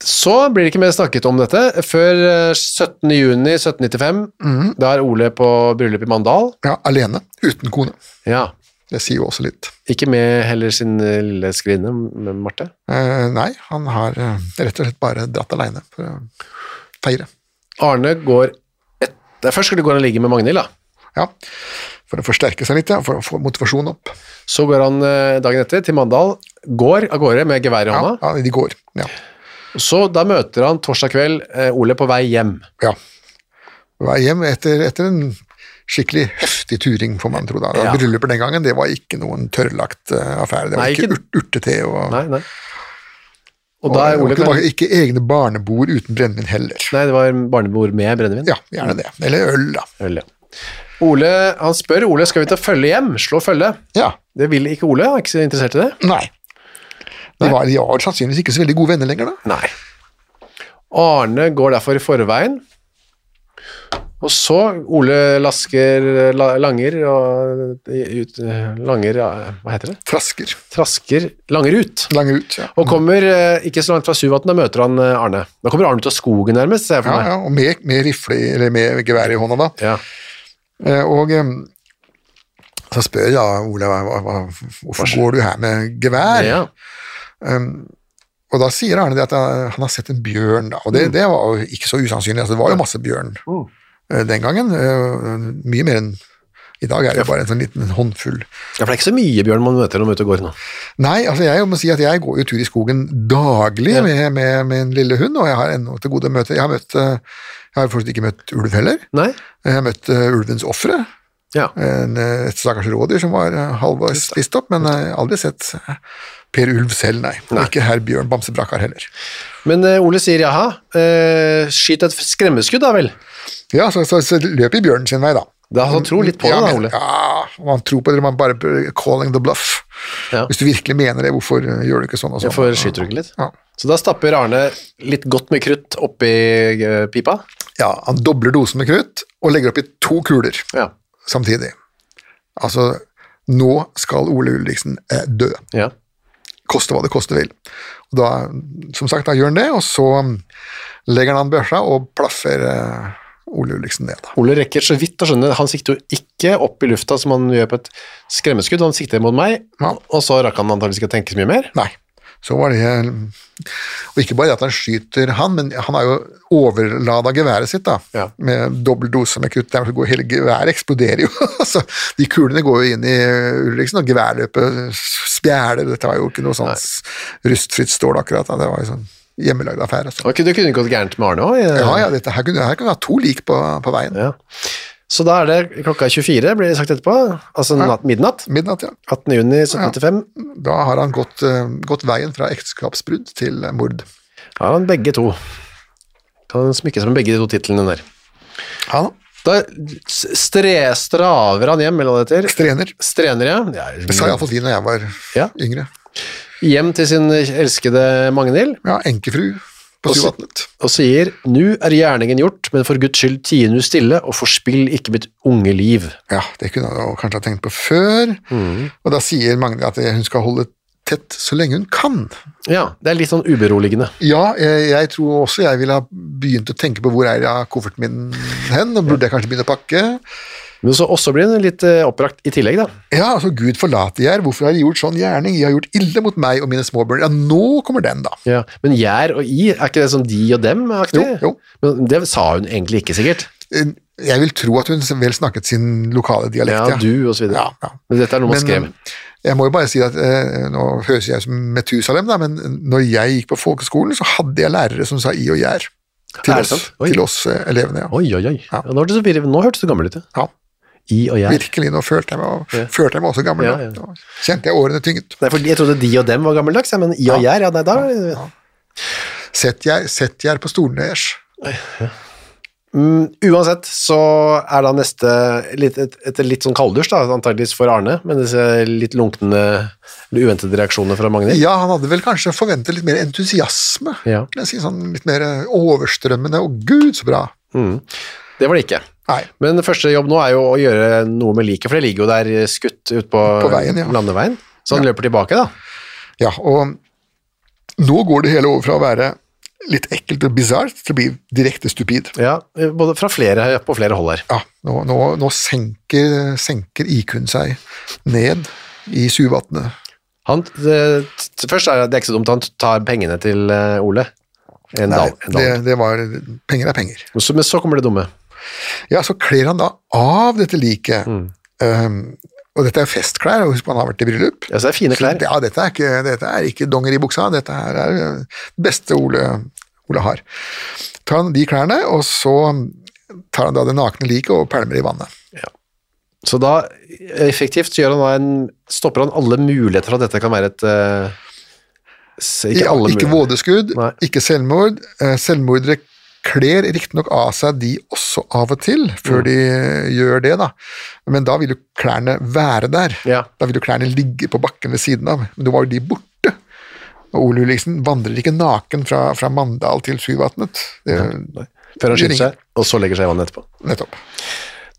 Speaker 2: Så blir det ikke mer snakket om dette før eh, 17. juni 1795.
Speaker 3: Mhm.
Speaker 2: Da er Ole på bryllup i Mandal.
Speaker 3: Ja, alene, uten kone.
Speaker 2: Ja.
Speaker 3: Det sier jo også litt.
Speaker 2: Ikke med heller sin eh, lille skrinne, med Marte.
Speaker 3: Eh, nei, han har eh, rett og slett bare dratt alene for å feire.
Speaker 2: Arne går et... Det er først skulle gå han og ligge med Magnhild, da.
Speaker 3: Ja, for å forsterke seg litt, ja, for å få motivasjonen opp.
Speaker 2: Så går han eh, dagen etter til Mandal, går av gårde med gevær i
Speaker 3: Ja,
Speaker 2: hånda.
Speaker 3: ja de går. Ja.
Speaker 2: Så da møter han torsdag kveld eh, Ole på vei hjem.
Speaker 3: ja. Vei hjem etter, etter en skikkelig heftig turing, får man tro. da.
Speaker 2: Ja.
Speaker 3: Ja. Bryllupet den gangen, det var ikke noen tørrlagt eh, affære. Det var
Speaker 2: Nei,
Speaker 3: ikke,
Speaker 2: ikke-
Speaker 3: urt- urtete og,
Speaker 2: Nei, nei. Og da er
Speaker 3: og
Speaker 2: Ole
Speaker 3: det var
Speaker 2: kanskje...
Speaker 3: ikke egne barnebord uten brennevin heller.
Speaker 2: Nei, det var barnebord med brennevin.
Speaker 3: Ja, gjerne det. Eller øl, da.
Speaker 2: Øl, ja. Ole, han spør Ole skal vi ta følge hjem. Slå følge.
Speaker 3: Ja,
Speaker 2: Det vil ikke Ole, han er ikke så interessert i det.
Speaker 3: nei. De var, de var sannsynligvis ikke så veldig gode venner lenger, da.
Speaker 2: Nei. Arne går derfor i forveien. Og så Ole lasker la, Langer og ut, Langer ja, Hva heter det?
Speaker 3: Trasker.
Speaker 2: Trasker Langer ut.
Speaker 3: Lange ut, ja.
Speaker 2: Og kommer eh, ikke så langt fra Suvatn, da møter han eh, Arne. Da kommer Arne ut av skogen, nærmest, ser jeg
Speaker 3: Ja,
Speaker 2: for meg.
Speaker 3: ja, og med, med rifle, eller med gevær i hånda, da.
Speaker 2: Ja.
Speaker 3: Eh, Og em, så spør jeg da Ole hva, hva, hva- hvorfor går du her med gevær?
Speaker 2: Ja.
Speaker 3: Og da sier Arne det at han han har sett en bjørn, da. og det, det var jo ikke så usannsynlig. Altså, det var jo masse bjørn eh, den gangen. eh, Mye mer enn I dag er det jo bare en sånn liten håndfull.
Speaker 2: Ja, for det er ikke så mye bjørn man møter når man er ute og går nå.
Speaker 3: Nei, altså jeg må si at jeg går jo tur i skogen daglig med, med min lille hund, og jeg har ennå til gode å møte Jeg har møtt eh, Jeg har fortsatt ikke møtt ulv heller.
Speaker 2: Nei?
Speaker 3: Jeg har møtt eh, ulvens ofre.
Speaker 2: Ja.
Speaker 3: En, eh, Et stakkars rådyr som var eh, halvveis spist opp, men jeg har aldri sett eh, Per Ulv selv, nei. Og
Speaker 2: Nei.
Speaker 3: ikke herr Bjørn Bamsebrakar heller.
Speaker 2: Men eh, Ole sier jaha, eh, skyt et skremmeskudd da vel.
Speaker 3: Ja, så, så, så løper bjørnen sin vei, da.
Speaker 2: Da han tror litt på det
Speaker 3: ja,
Speaker 2: da,
Speaker 3: men-
Speaker 2: Ole.
Speaker 3: Ja, man tror på det, man bare calling the bluff.
Speaker 2: Ja.
Speaker 3: Hvis du virkelig mener det, hvorfor eh, gjør du ikke sånn og sånn?
Speaker 2: Hvorfor skyter du ikke litt?
Speaker 3: Ja.
Speaker 2: Så da stapper Arne litt godt med krutt oppi eh, pipa.
Speaker 3: Ja, han dobler dosen med krutt og legger opp i to kuler
Speaker 2: Ja.
Speaker 3: samtidig. Altså, nå skal Ole Ulriksen eh, dø,
Speaker 2: ja.
Speaker 3: koste hva det koste vil. Og da, som sagt, da gjør han det, og så mm, legger han an børsa og plaffer eh, Ole Ulriksen ned. Da.
Speaker 2: Ole rekker så vidt å skjønne, han sikter jo ikke opp i lufta som han gjør på et skremmeskudd, han sikter mot meg,
Speaker 3: Ja.
Speaker 2: og så rakk han antageligvis ikke å tenke så mye mer.
Speaker 3: Nei, så var det Og ikke bare det at han skyter han, men han har jo overlada geværet sitt, da.
Speaker 2: Ja.
Speaker 3: Med dobbel dose med krutt. Der går hele geværet eksploderer jo. [laughs] altså, de kulene går jo inn i Ulriksen, og geværløpet spjæler. Dette var jo ikke noe sånn s- rustfritt stål, akkurat. Da. Det var jo sånn hjemmelagd affære. Så.
Speaker 2: Ok, det kunne gått gærent med Arne også.
Speaker 3: Ja, ja, dette her kunne, her kunne vi ha to lik på, på veien.
Speaker 2: Ja. Så da er det klokka 24, blir det sagt etterpå, altså natt, midnatt,
Speaker 3: Midnatt, ja.
Speaker 2: 18. juni 1795,
Speaker 3: Da har han gått, eh, gått veien fra ekteskapsbrudd til eh, mord.
Speaker 2: har han begge to. Kan han smykke seg med begge de to titlene der.
Speaker 3: Ja, da.
Speaker 2: Da s- stre, straver han hjem, eller hva det heter.
Speaker 3: Strener.
Speaker 2: Strener, ja. Det er-
Speaker 3: Det sa iallfall de når jeg var
Speaker 2: Ja.
Speaker 3: yngre.
Speaker 2: Hjem til sin elskede Magnhild,
Speaker 3: Ja, enkefru på
Speaker 2: Og så-
Speaker 3: Syvatnet.
Speaker 2: og sier «Nu er gjerningen gjort, men for Guds skyld tie nu stille, og forspill ikke mitt unge liv».
Speaker 3: Ja, det kunne jeg jo kanskje ha tenkt på før.
Speaker 2: Mm.
Speaker 3: Og da sier Magne at hun skal holde tett så lenge hun kan.
Speaker 2: Ja, det er litt sånn uberoligende.
Speaker 3: Ja, jeg, jeg tror også jeg ville ha begynt å tenke på hvor er jeg har kofferten min hen, og burde jeg kanskje begynne å pakke?
Speaker 2: Men så også blir den litt eh, oppbrakt i tillegg da.
Speaker 3: Ja, altså Gud forlate jeg, hvorfor har jeg gjort sånn gjerning? Jeg har gjort ille mot meg og mine småbørn. Ja, nå kommer den, da.
Speaker 2: Ja. Men gjær og i, er ikke det sånn de og dem-aktig?
Speaker 3: Jo, jo.
Speaker 2: Men det sa hun egentlig ikke sikkert.
Speaker 3: Jeg vil tro at hun vel snakket sin lokale dialekt.
Speaker 2: Ja, du og så videre.
Speaker 3: Ja, ja.
Speaker 2: Men dette er noe man skrev.
Speaker 3: Men, eh, Jeg må jo bare si at eh, Nå høres jeg ut som Metusalem, da, men når jeg gikk på folkeskolen, så hadde jeg lærere som sa i og gjær til
Speaker 2: Er det
Speaker 3: oss,
Speaker 2: sant? Oi.
Speaker 3: til oss eh, elevene. Ja.
Speaker 2: Oi, oi, oi. Ja. nå, hørtes du, vir- nå hørtes du gammel ut, ja.
Speaker 3: Ja,
Speaker 2: I og gjær.
Speaker 3: virkelig. Nå følte jeg meg,
Speaker 2: Ja.
Speaker 3: følte jeg meg også gammel.
Speaker 2: Ja, ja.
Speaker 3: da. Da Kjente jeg årene tynget.
Speaker 2: Nei, for jeg trodde de og dem var gammeldags, ja, men i og gjær, ja, nei, da...
Speaker 3: Sett jeg, sett jeg på Stornes.
Speaker 2: Mm, uansett så er da neste, litt, et, et litt sånn kalddusj da, antageligvis for Arne, med disse litt lunkne, eller uventede reaksjonene fra Magnhild.
Speaker 3: Ja, han hadde vel kanskje forventet litt mer entusiasme.
Speaker 2: Ja.
Speaker 3: Jeg sier sånn litt mer eh, overstrømmende. Å, gud, så bra!
Speaker 2: Mm. Det var det ikke.
Speaker 3: Nei.
Speaker 2: Men første jobb nå er jo å gjøre noe med liket, for det ligger jo der skutt ut på,
Speaker 3: På veien, ja.
Speaker 2: landeveien. Så han løper tilbake da.
Speaker 3: Ja, og nå går det hele over fra å være litt ekkelt og bisart til å bli direkte stupid.
Speaker 2: Ja, både fra flere, på flere hold her.
Speaker 3: ja, nå, nå, nå senker, senker IQ-en seg ned i suvatnet.
Speaker 2: Han, det, t- først er det ikke så dumt, han tar pengene til eh, Ole. En
Speaker 3: Nei,
Speaker 2: dal, en
Speaker 3: det,
Speaker 2: dal.
Speaker 3: det var Penger er penger.
Speaker 2: Men så- Men så kommer det dumme.
Speaker 3: Ja, så kler han da av dette liket.
Speaker 2: Mm.
Speaker 3: Um, og dette er festklær, og husk på han har vært i bryllup.
Speaker 2: Ja, så det er fine klær.
Speaker 3: Ja, dette er ikke, dette er ikke donger i buksa, dette her er eh, det beste Ole, Ole har. Tar han de klærne, og så tar han da det nakne liket og pælmer i vannet.
Speaker 2: Så da, effektivt, så gjør han da en, stopper han alle muligheter for at dette kan være et eh, s-
Speaker 3: Ikke, ja, ikke
Speaker 2: muligheter.
Speaker 3: vådeskudd,
Speaker 2: Nei.
Speaker 3: ikke selvmord. Eh, Selvmordere kler riktignok av seg de også av og til,
Speaker 2: Mm.
Speaker 3: før de eh, gjør det, da. Men da vil jo klærne være der.
Speaker 2: Ja.
Speaker 3: Da vil jo klærne ligge på bakken ved siden av. Men nå var jo de borte. Og Ole Ulriksen vandrer ikke naken fra, fra Mandal til Syvatnet. Det,
Speaker 2: Før han skyter
Speaker 3: ringer.
Speaker 2: seg, og så legger seg i vannet etterpå.
Speaker 3: nettopp.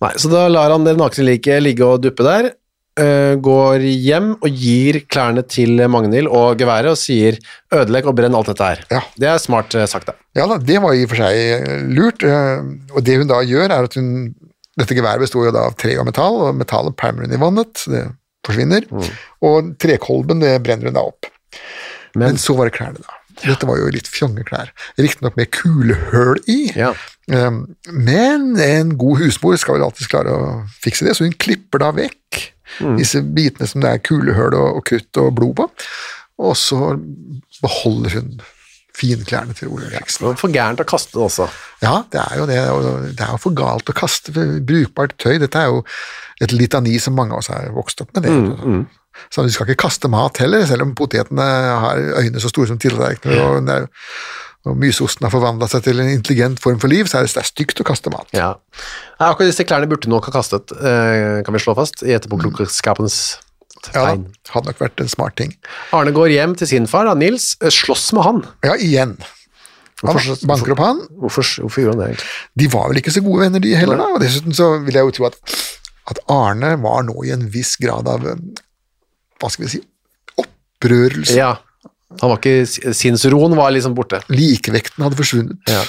Speaker 2: Nei, så da lar han det nakne liket ligge og duppe der, eh, går hjem og gir klærne til Magnhild og geværet og sier ødelegg og brenn alt dette her.
Speaker 3: Ja.
Speaker 2: Det er smart eh, sagt, da.
Speaker 3: Ja da, det var i og for seg eh, lurt. eh, Og det hun da gjør, er at hun Dette geværet består jo da av tre og metall, og metallet pælmer hun i vannet. Det forsvinner.
Speaker 2: Mm.
Speaker 3: Og trekolben det brenner hun da opp. Men,
Speaker 2: Men-
Speaker 3: så var det klærne, da. Dette var jo litt fjonge klær. Riktignok med kulehull i,
Speaker 2: Ja.
Speaker 3: Ehm, Men en god husmor skal vel alltid klare å fikse det, så hun klipper da vekk
Speaker 2: Mm.
Speaker 3: disse bitene som det er kulehull og, og krutt og blod på, og så beholder hun finklærne til Ole Eriksen.
Speaker 2: Men for gærent å kaste det også.
Speaker 3: Ja, det er jo det, og det er jo for galt å kaste brukbart tøy. Dette er jo et litani som mange av oss har vokst opp med. det. Så du skal ikke kaste mat heller, selv om potetene har øyne så store som tillerkener, og, den er- og myseosten har forvandla seg til en intelligent form for liv, så er det, det er stygt å kaste mat.
Speaker 2: Ja. Nei, akkurat disse klærne burde nok ha kastet, eh, kan vi slå fast, i etterpåklokskapens
Speaker 3: Ja, da,
Speaker 2: tegn.
Speaker 3: hadde nok vært en smart ting.
Speaker 2: Arne går hjem til sin far, da, Nils, eh, slåss med han.
Speaker 3: Ja, igjen. Han
Speaker 2: Hvorfor-
Speaker 3: banker opp han,
Speaker 2: Hvorfor, hvorfor gjorde han det egentlig?
Speaker 3: de var vel ikke så gode venner de heller da, og dessuten så vil jeg jo tro at, at Arne var nå i en viss grad av, eh, hva skal vi si, opprørelse.
Speaker 2: Ja, han var ikke, sinnsroen var liksom borte.
Speaker 3: Likevekten hadde forsvunnet.
Speaker 2: Ja.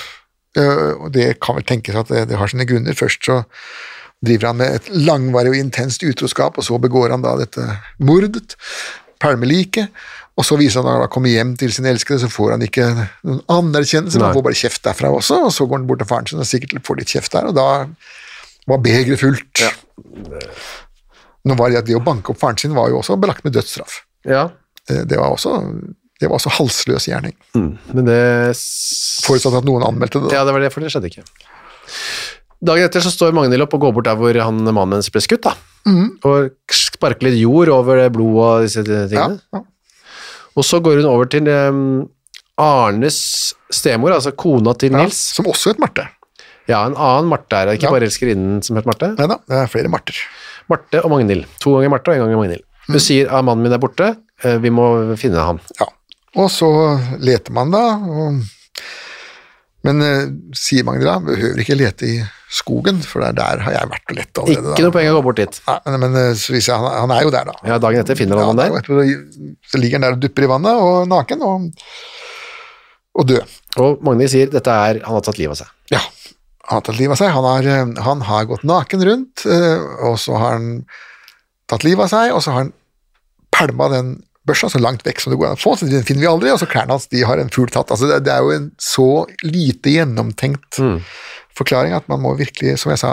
Speaker 3: Eh, og det kan vel tenkes at det, det har sine grunner. Først så driver han med et langvarig og intenst utroskap, og så begår han da dette mordet, palmeliket, og så viser han da, da kommer hjem til sin elskede, så får han ikke noen anerkjennelse, men
Speaker 2: Nei.
Speaker 3: han får bare kjeft derfra også, og så går han bort til faren sin og sikkert får litt kjeft der, og da var begeret fullt. Nå var det at det å banke opp faren sin var jo også belagt med dødsstraff.
Speaker 2: Ja,
Speaker 3: Eh, Det var også, det var også halsløs gjerning,
Speaker 2: men det... s-
Speaker 3: forutsatt at noen anmeldte det.
Speaker 2: Ja,
Speaker 3: da.
Speaker 2: det var det, for det skjedde ikke. Dagen etter så står Magnhild opp og går bort der hvor han mannen hennes ble skutt, da. Og sparker litt jord over det blod og disse tingene.
Speaker 3: Ja, ja.
Speaker 2: Og så går hun over til em, Arnes stemor, altså kona til
Speaker 3: Ja,
Speaker 2: Nils.
Speaker 3: som også het Marte.
Speaker 2: Ja, en annen Marte er det, ikke
Speaker 3: Ja.
Speaker 2: bare elskerinnen som heter Marte.
Speaker 3: Nei da, det er flere Marter.
Speaker 2: Marte og Magnhild. To ganger Marte og en gang Magnhild. Hun sier at mannen min er borte, eh, vi må finne ham.
Speaker 3: Ja. Og så leter man, da. Og... Men eh, sier Magnhild da, behøver ikke lete i skogen, for der, der har jeg vært og lett allerede.
Speaker 2: Ikke noe poeng å gå bort dit.
Speaker 3: Nei, men- men eh, så viser jeg, han, han er jo der, da.
Speaker 2: Ja, dagen etter finner han ham
Speaker 3: Ja,
Speaker 2: der.
Speaker 3: etterpå Så ligger han der og dupper i vannet, og naken, og, og død.
Speaker 2: Og Magnhild sier dette er han har tatt livet av seg.
Speaker 3: Ja. Han har tatt livet av seg. Han har, eh, han har gått naken rundt, eh, og så har han tatt livet av seg, og så har han pælma den børsa så langt vekk som det går an å få, så den finner vi aldri, og så klærne hans de har en fugl tatt. Altså, det, det er jo en så lite gjennomtenkt forklaring at man må virkelig, som jeg sa,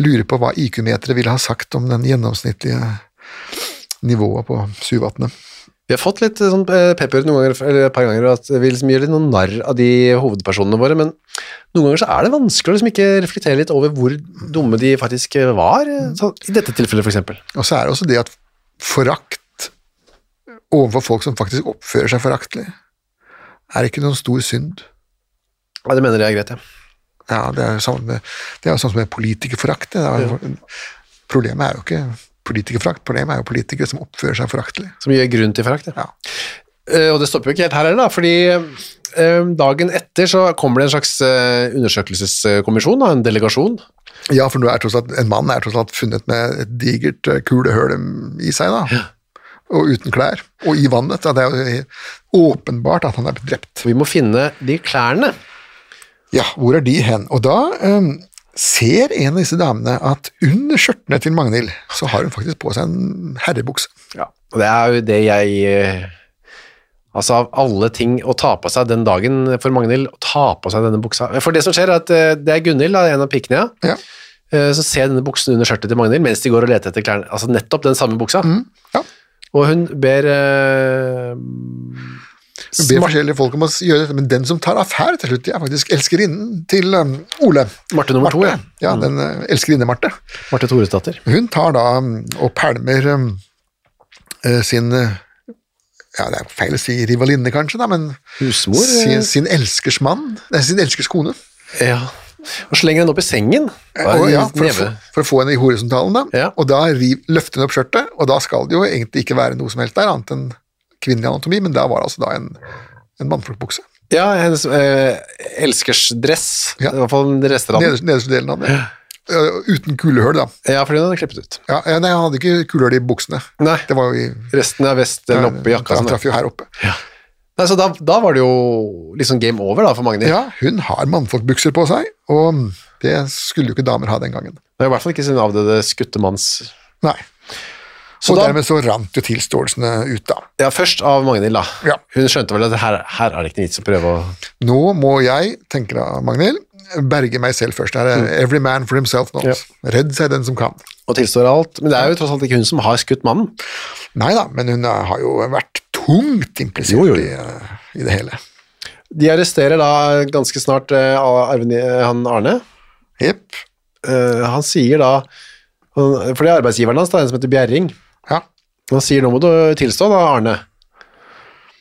Speaker 3: lure på hva IQ-meteret ville ha sagt om den gjennomsnittlige nivået på Suvatnet.
Speaker 2: Vi har fått litt eh, sånn eh, pepper noen ganger, eller et par ganger, at vi liksom gjør litt noen narr av de hovedpersonene våre, men noen ganger så er det vanskelig å liksom ikke reflektere litt over hvor dumme de faktisk eh, var, eh, så, i dette tilfellet for eksempel.
Speaker 3: Og så er det også det at forakt overfor folk som faktisk oppfører seg foraktelig, er ikke noen stor synd.
Speaker 2: Ja, det mener jeg er greit, ja.
Speaker 3: Ja, det er jo sånn, med, det er jo sånn som med politikerforakt. det er jo- Problemet er jo ikke politikerforakt, problemet er jo politikere som oppfører seg foraktelig.
Speaker 2: Som gir grunn til forakt, ja.
Speaker 3: Ja.
Speaker 2: Eh, og det stopper jo ikke helt her heller, da, fordi eh, dagen etter så kommer det en slags eh, undersøkelseskommisjon, da, en delegasjon.
Speaker 3: Ja, for nå er tross alt, en mann er tross alt funnet med et digert eh, kulehøl i seg, da. Og uten klær. Og i vannet. Da. Det er jo helt åpenbart at han er blitt drept.
Speaker 2: Vi må finne de klærne.
Speaker 3: Ja, hvor er de hen? Og da eh, ser en av disse damene at under skjørtene til Magnhild, så har hun faktisk på seg en herrebukse.
Speaker 2: Ja, og det er jo det jeg eh, Altså, av alle ting å ta på seg den dagen for Magnhild, å ta på seg denne buksa For det som skjer, er at eh, det er Gunhild, da, en av pikene, ja,
Speaker 3: Ja.
Speaker 2: eh, som ser denne buksen under skjørtet til Magnhild mens de går og leter etter klærne. Altså nettopp den samme buksa.
Speaker 3: ja.
Speaker 2: Og hun ber eh,
Speaker 3: Hun ber forskjellige folk om å gjøre dette, men den som tar affære til slutt, det er faktisk elskerinnen til um, Ole.
Speaker 2: Marte nummer to, ja. Mm.
Speaker 3: Ja, den uh, elskerinne Marte.
Speaker 2: Marte Thoresdatter.
Speaker 3: Hun tar da um, og pælmer um, eh, sin eh, ja, det er feil å si rivalinne, kanskje, da, men
Speaker 2: Husmor, eh.
Speaker 3: sin, sin elskers mann, nei, sin elskers kone,
Speaker 2: Ja. Og slenger henne opp i sengen.
Speaker 3: og, ja, for, å få,
Speaker 2: Neve.
Speaker 3: for å få henne i horisontalen, da.
Speaker 2: Ja.
Speaker 3: Og da riv, løfter hun opp skjørtet, og da skal det jo egentlig ikke være noe som helst der, annet enn kvinnelig anatomi, men da var det altså da en, en mannflokkbukse.
Speaker 2: Ja, hennes eh, elskersdress.
Speaker 3: Ja.
Speaker 2: I hvert fall den rester av den.
Speaker 3: Nederste, nederste delen av den. Eh, Uten kulehull, da.
Speaker 2: Ja, fordi hun hadde klippet ut.
Speaker 3: Ja, ja, nei, han hadde ikke kulehull i buksene.
Speaker 2: Nei,
Speaker 3: Det var jo i
Speaker 2: resten av vesten oppe i jakka.
Speaker 3: Han
Speaker 2: sånn.
Speaker 3: traff jo her oppe.
Speaker 2: Nei, så da, da var det jo liksom game over da for Magnhild.
Speaker 3: Ja, hun har mannfolkbukser på seg, og det skulle jo ikke damer ha den gangen.
Speaker 2: Det var I hvert fall ikke sin avdøde skuttemanns
Speaker 3: Nei.
Speaker 2: Så
Speaker 3: og
Speaker 2: da-
Speaker 3: dermed så rant jo tilståelsene ut, da.
Speaker 2: Ja, først av Magnhild, da.
Speaker 3: Ja.
Speaker 2: Hun skjønte vel at her, her er det ikke noe vits å prøve å
Speaker 3: Nå må jeg, tenker da Magnhild, berge meg selv først. Det er
Speaker 2: Mm.
Speaker 3: eh, every man for himself nå. Redd seg den som kan.
Speaker 2: og tilstår alt. Men det er jo tross alt ikke hun som har skutt mannen.
Speaker 3: Nei da, men hun eh, har jo vært tungt implisert
Speaker 2: Jo, jo, jo.
Speaker 3: I, eh, i det hele.
Speaker 2: De arresterer da ganske snart eh, Arven, eh, han Arne.
Speaker 3: Jepp.
Speaker 2: Eh, han sier da han, For det er arbeidsgiveren hans, da, en som heter Bjerring.
Speaker 3: Ja.
Speaker 2: Han sier 'nå må du tilstå', da, Arne.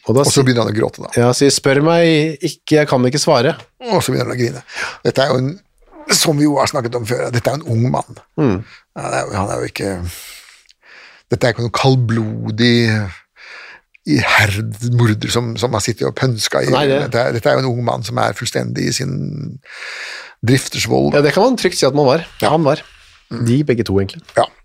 Speaker 2: Og da
Speaker 3: Og så
Speaker 2: sier,
Speaker 3: begynner han å gråte, da.
Speaker 2: ja, han sier 'spør meg ikke, jeg kan ikke svare'.
Speaker 3: Og så begynner han å grine. Dette er jo en, som vi jo har snakket om før, dette er jo en ung mann.
Speaker 2: Mm.
Speaker 3: Han, er, jo- han er jo ikke Dette er ikke noen kaldblodig ihermorder som, som har sittet og pønska i
Speaker 2: Nei, det-
Speaker 3: dette, er, dette er jo en ung mann som er fullstendig i sin driftersvold.
Speaker 2: Ja, Det kan man trygt si at man var. Han var. De begge to, egentlig.
Speaker 3: Ja.
Speaker 2: Mm.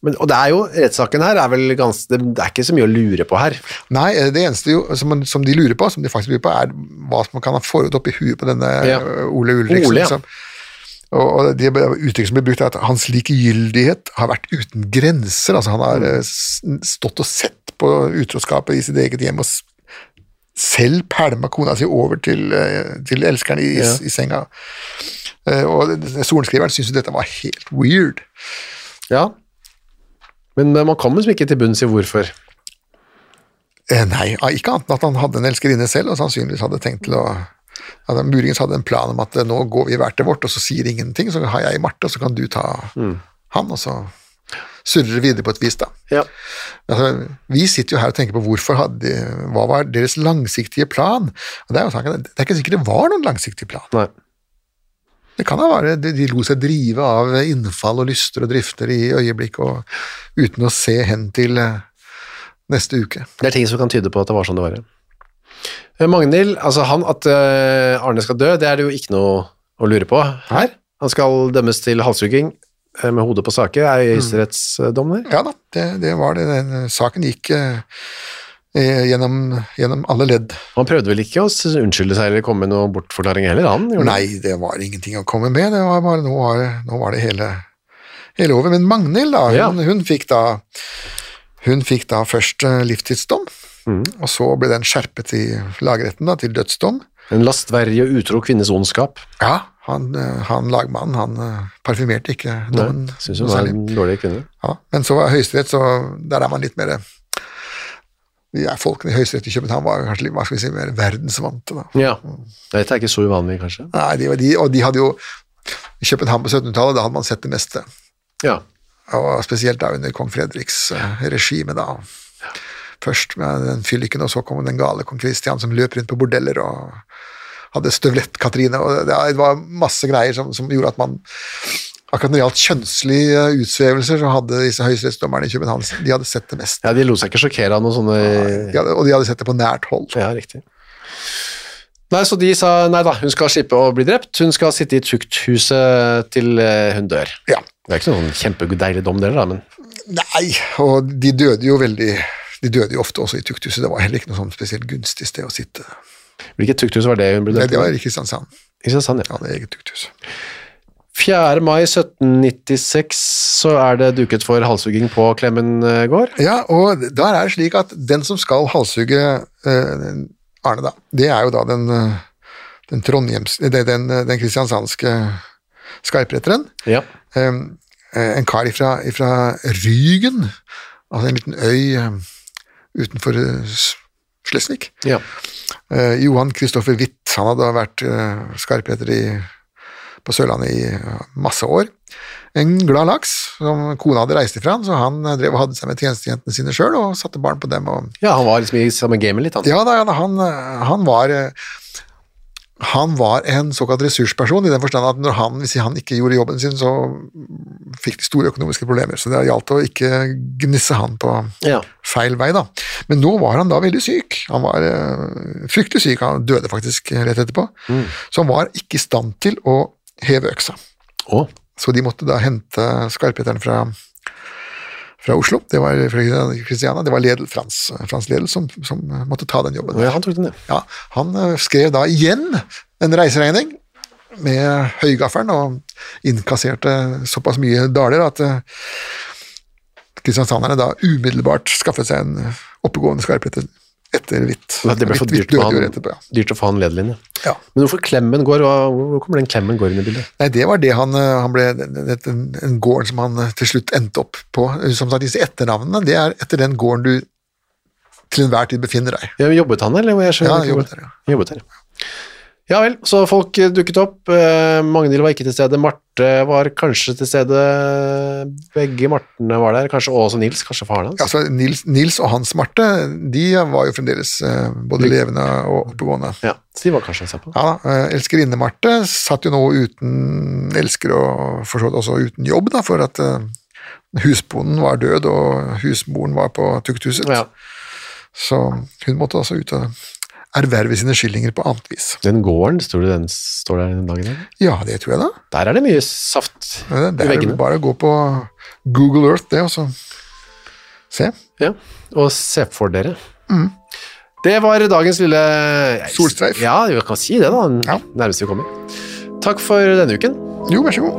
Speaker 2: Men, og det er jo, rettssaken her er vel gans, det, det er ikke så mye å lure på her.
Speaker 3: Nei, eh, det eneste jo, som, man- som de lurer på, som de faktisk lurer på, er hva som kan ha foregått oppi huet på denne
Speaker 2: Ja.
Speaker 3: eh, Ole Ulriksen.
Speaker 2: Ole, ja.
Speaker 3: som- og, og det uttrykket som blir brukt, er at hans likegyldighet har vært uten grenser. Altså, han
Speaker 2: Mm.
Speaker 3: har eh, s- stått og sett på utroskapet i sitt eget hjem og s- selv pælma kona si over til, eh, til elskeren i,
Speaker 2: Ja.
Speaker 3: i senga. Eh, Og sorenskriveren syntes jo dette var helt weird.
Speaker 2: Ja. Men, men man kommer liksom ikke til bunns i hvorfor.
Speaker 3: Eh, Nei, ikke annet enn at han hadde en elskerinne selv, og sannsynligvis hadde tenkt til å at han Muligens hadde en plan om at eh, nå går vi hver til vårt, og så sier ingenting, så har jeg Marte, og så kan du ta han, og så surrer vi videre på et vis, da.
Speaker 2: Ja.
Speaker 3: Altså, vi sitter jo her og tenker på hvorfor hadde, hva var deres langsiktige plan? Og det er jo saken, det er ikke sikkert det var noen langsiktig plan.
Speaker 2: Nei.
Speaker 3: Det kan da være de, de lo seg drive av innfall og lyster og drifter i øyeblikk, og uten å se hen til eh, neste uke.
Speaker 2: Det er ting som kan tyde på at det var sånn det var. ja. Eh, Magnhild, altså han at eh, Arne skal dø, det er det jo ikke noe å lure på her. Han skal dømmes til halshugging eh, med hodet på sake, er
Speaker 3: Mm.
Speaker 2: høyesterettsdom der.
Speaker 3: Ja da, det, det var det. Den, saken gikk eh, eh, gjennom, gjennom alle ledd.
Speaker 2: Han prøvde vel ikke å s- unnskylde seg eller komme med noen bortforklaring heller, han? gjorde det?
Speaker 3: Nei, det var ingenting å komme med. Det var bare, nå, var, nå var det hele, hele over. Men Magnhild, da,
Speaker 2: Ja.
Speaker 3: hun, hun fikk da hun fikk da først eh, livstidsdom,
Speaker 2: Mm.
Speaker 3: og så ble den skjerpet i lagretten da, til dødsdom.
Speaker 2: En lastverdig og utro kvinnes ondskap.
Speaker 3: Ja, han, eh, han lagmannen, han eh, parfymerte ikke dommen.
Speaker 2: Syns
Speaker 3: noe
Speaker 2: hun var
Speaker 3: særlig.
Speaker 2: en dårlig kvinne.
Speaker 3: Ja, men så var Høyesterett, så der er man litt mer de er Folkene i Høyesterett i København var kanskje litt hva skal vi si, mer verdensvante. da.
Speaker 2: Ja.
Speaker 3: Mm.
Speaker 2: Dette er ikke så uvanlig, kanskje.
Speaker 3: Nei, de, var- de, og de hadde jo i København på 1700-tallet, da hadde man sett det meste.
Speaker 2: Ja.
Speaker 3: Og spesielt da under kong Fredriks eh, regime, da. Først med den fylliken, og så kom den gale kong Kristian som løp rundt på bordeller og hadde støvlett-Katrine. og Det, det var masse greier som, som gjorde at man Akkurat når det gjaldt kjønnslige eh, utsvevelser, så hadde disse høyesterettsdommerne i København de hadde sett det meste.
Speaker 2: ja, de lot seg ikke sjokkere av noen sånne
Speaker 3: De hadde, og de hadde sett det på nært hold.
Speaker 2: Ja, riktig. Nei, så de sa nei da, hun skal slippe å bli drept. Hun skal sitte i tukthuset til eh, hun dør.
Speaker 3: Ja.
Speaker 2: Det er ikke noen kjempedeilig dom, dere, da, men
Speaker 3: Nei, og de døde jo veldig De døde jo ofte også i tukthuset. Det var heller ikke noe sånn spesielt gunstig sted å sitte.
Speaker 2: hvilket tukthus var det hun ble
Speaker 3: Nei,
Speaker 2: drept
Speaker 3: det var
Speaker 2: i?
Speaker 3: i Kristiansand.
Speaker 2: Kristiansand,
Speaker 3: De
Speaker 2: ja.
Speaker 3: hadde eget tukthus.
Speaker 2: 4. mai 1796 så er det duket for halshugging på Klemmen eh, gård.
Speaker 3: Ja, og der er det slik at den som skal halshugge eh, Arne, da, det er jo da den, eh, den trondhjems... det- Den, eh, den kristiansandske skarpretteren.
Speaker 2: Ja.
Speaker 3: Eh, en kar ifra, ifra Rygen, altså en liten øy eh, utenfor eh, S- Slesvig.
Speaker 2: ja.
Speaker 3: Eh, Johan Kristoffer Witt, han hadde vært eh, skarpretter i, på Sørlandet i eh, masse år. En glad laks som kona hadde reist ifra, han, så han eh, drev og hadde seg med tjenestejentene sine sjøl og satte barn på dem. Og,
Speaker 2: ja, han var liksom i samme gamet litt, han.
Speaker 3: ja da, ja da, han, eh, han var eh, han var en såkalt ressursperson, i den forstand at når han, hvis han ikke gjorde jobben sin, så fikk de store økonomiske problemer. Så det gjaldt å ikke gnisse han på
Speaker 2: Ja.
Speaker 3: feil vei, da. Men nå var han da veldig syk. Han var eh, fryktelig syk, han døde faktisk rett etterpå. Så han var ikke i stand til å heve øksa.
Speaker 2: Å,
Speaker 3: Så de måtte da hente skarpheteren fra, fra Oslo, det var fra Kristiania, det var Ledel, Frans, Frans Ledel som, som måtte ta den jobben.
Speaker 2: ja, han tok den, ja.
Speaker 3: Ja, han eh, skrev da igjen en reiseregning med høygaffelen og innkasserte såpass mye daler at eh, kristiansanderne da umiddelbart skaffet seg en oppegående skarpretter etter hvitt.
Speaker 2: Det ble for
Speaker 3: Hvitt- hvitt
Speaker 2: dyrt, å
Speaker 3: blod
Speaker 2: ha
Speaker 3: gjorde etterpå,
Speaker 2: en-
Speaker 3: ja.
Speaker 2: dyrt å få han ledelinje.
Speaker 3: Ja.
Speaker 2: Men hvorfor Klemmen går, hva- hvor kommer den Klemmen går inn i bildet?
Speaker 3: Nei, det var det han, eh, han ble det- den, den gården som han eh, til slutt endte opp på. Eh, Som sagt, disse etternavnene, det er etter den gården du til enhver tid befinner deg.
Speaker 2: Ja, jobbet han, eller? Jeg skjønner
Speaker 3: Ja,
Speaker 2: ikke hvor-
Speaker 3: jobbet der, ja.
Speaker 2: Jobbet der, ja. Ja vel, så folk eh, dukket opp. Eh, Magnhild var ikke til stede. Marte var kanskje til stede. Begge Martene var der. Kanskje Åse og Nils, kanskje faren hans.
Speaker 3: Altså, Nils, Nils og Hans Marte, de var jo fremdeles eh, både levende og oppegående.
Speaker 2: Ja, så de var kanskje å se på.
Speaker 3: Ja da, eh, elskerinne Marte satt jo nå uten elsker og for så vidt også uten jobb, da, for at eh, husbonden var død og husmoren var på tukthuset.
Speaker 2: Ja.
Speaker 3: Så hun måtte altså ut og erverve sine skillinger på annet vis.
Speaker 2: Den gården, tror du den står der den dag i dag?
Speaker 3: Ja, det tror jeg da. Eh,
Speaker 2: Der er det mye saft
Speaker 3: Det det
Speaker 2: i
Speaker 3: er
Speaker 2: veggene.
Speaker 3: vel bare å gå på Google Earth, det, og så se.
Speaker 2: Ja, og se for dere. Det var dagens lille
Speaker 3: Mm. Solstreif.
Speaker 2: Ja, vi kan si det, da. Den
Speaker 3: Ja.
Speaker 2: Nærmeste vi kommer. Takk for denne uken.
Speaker 3: Jo, vær så god.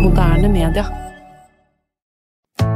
Speaker 4: Moderne media.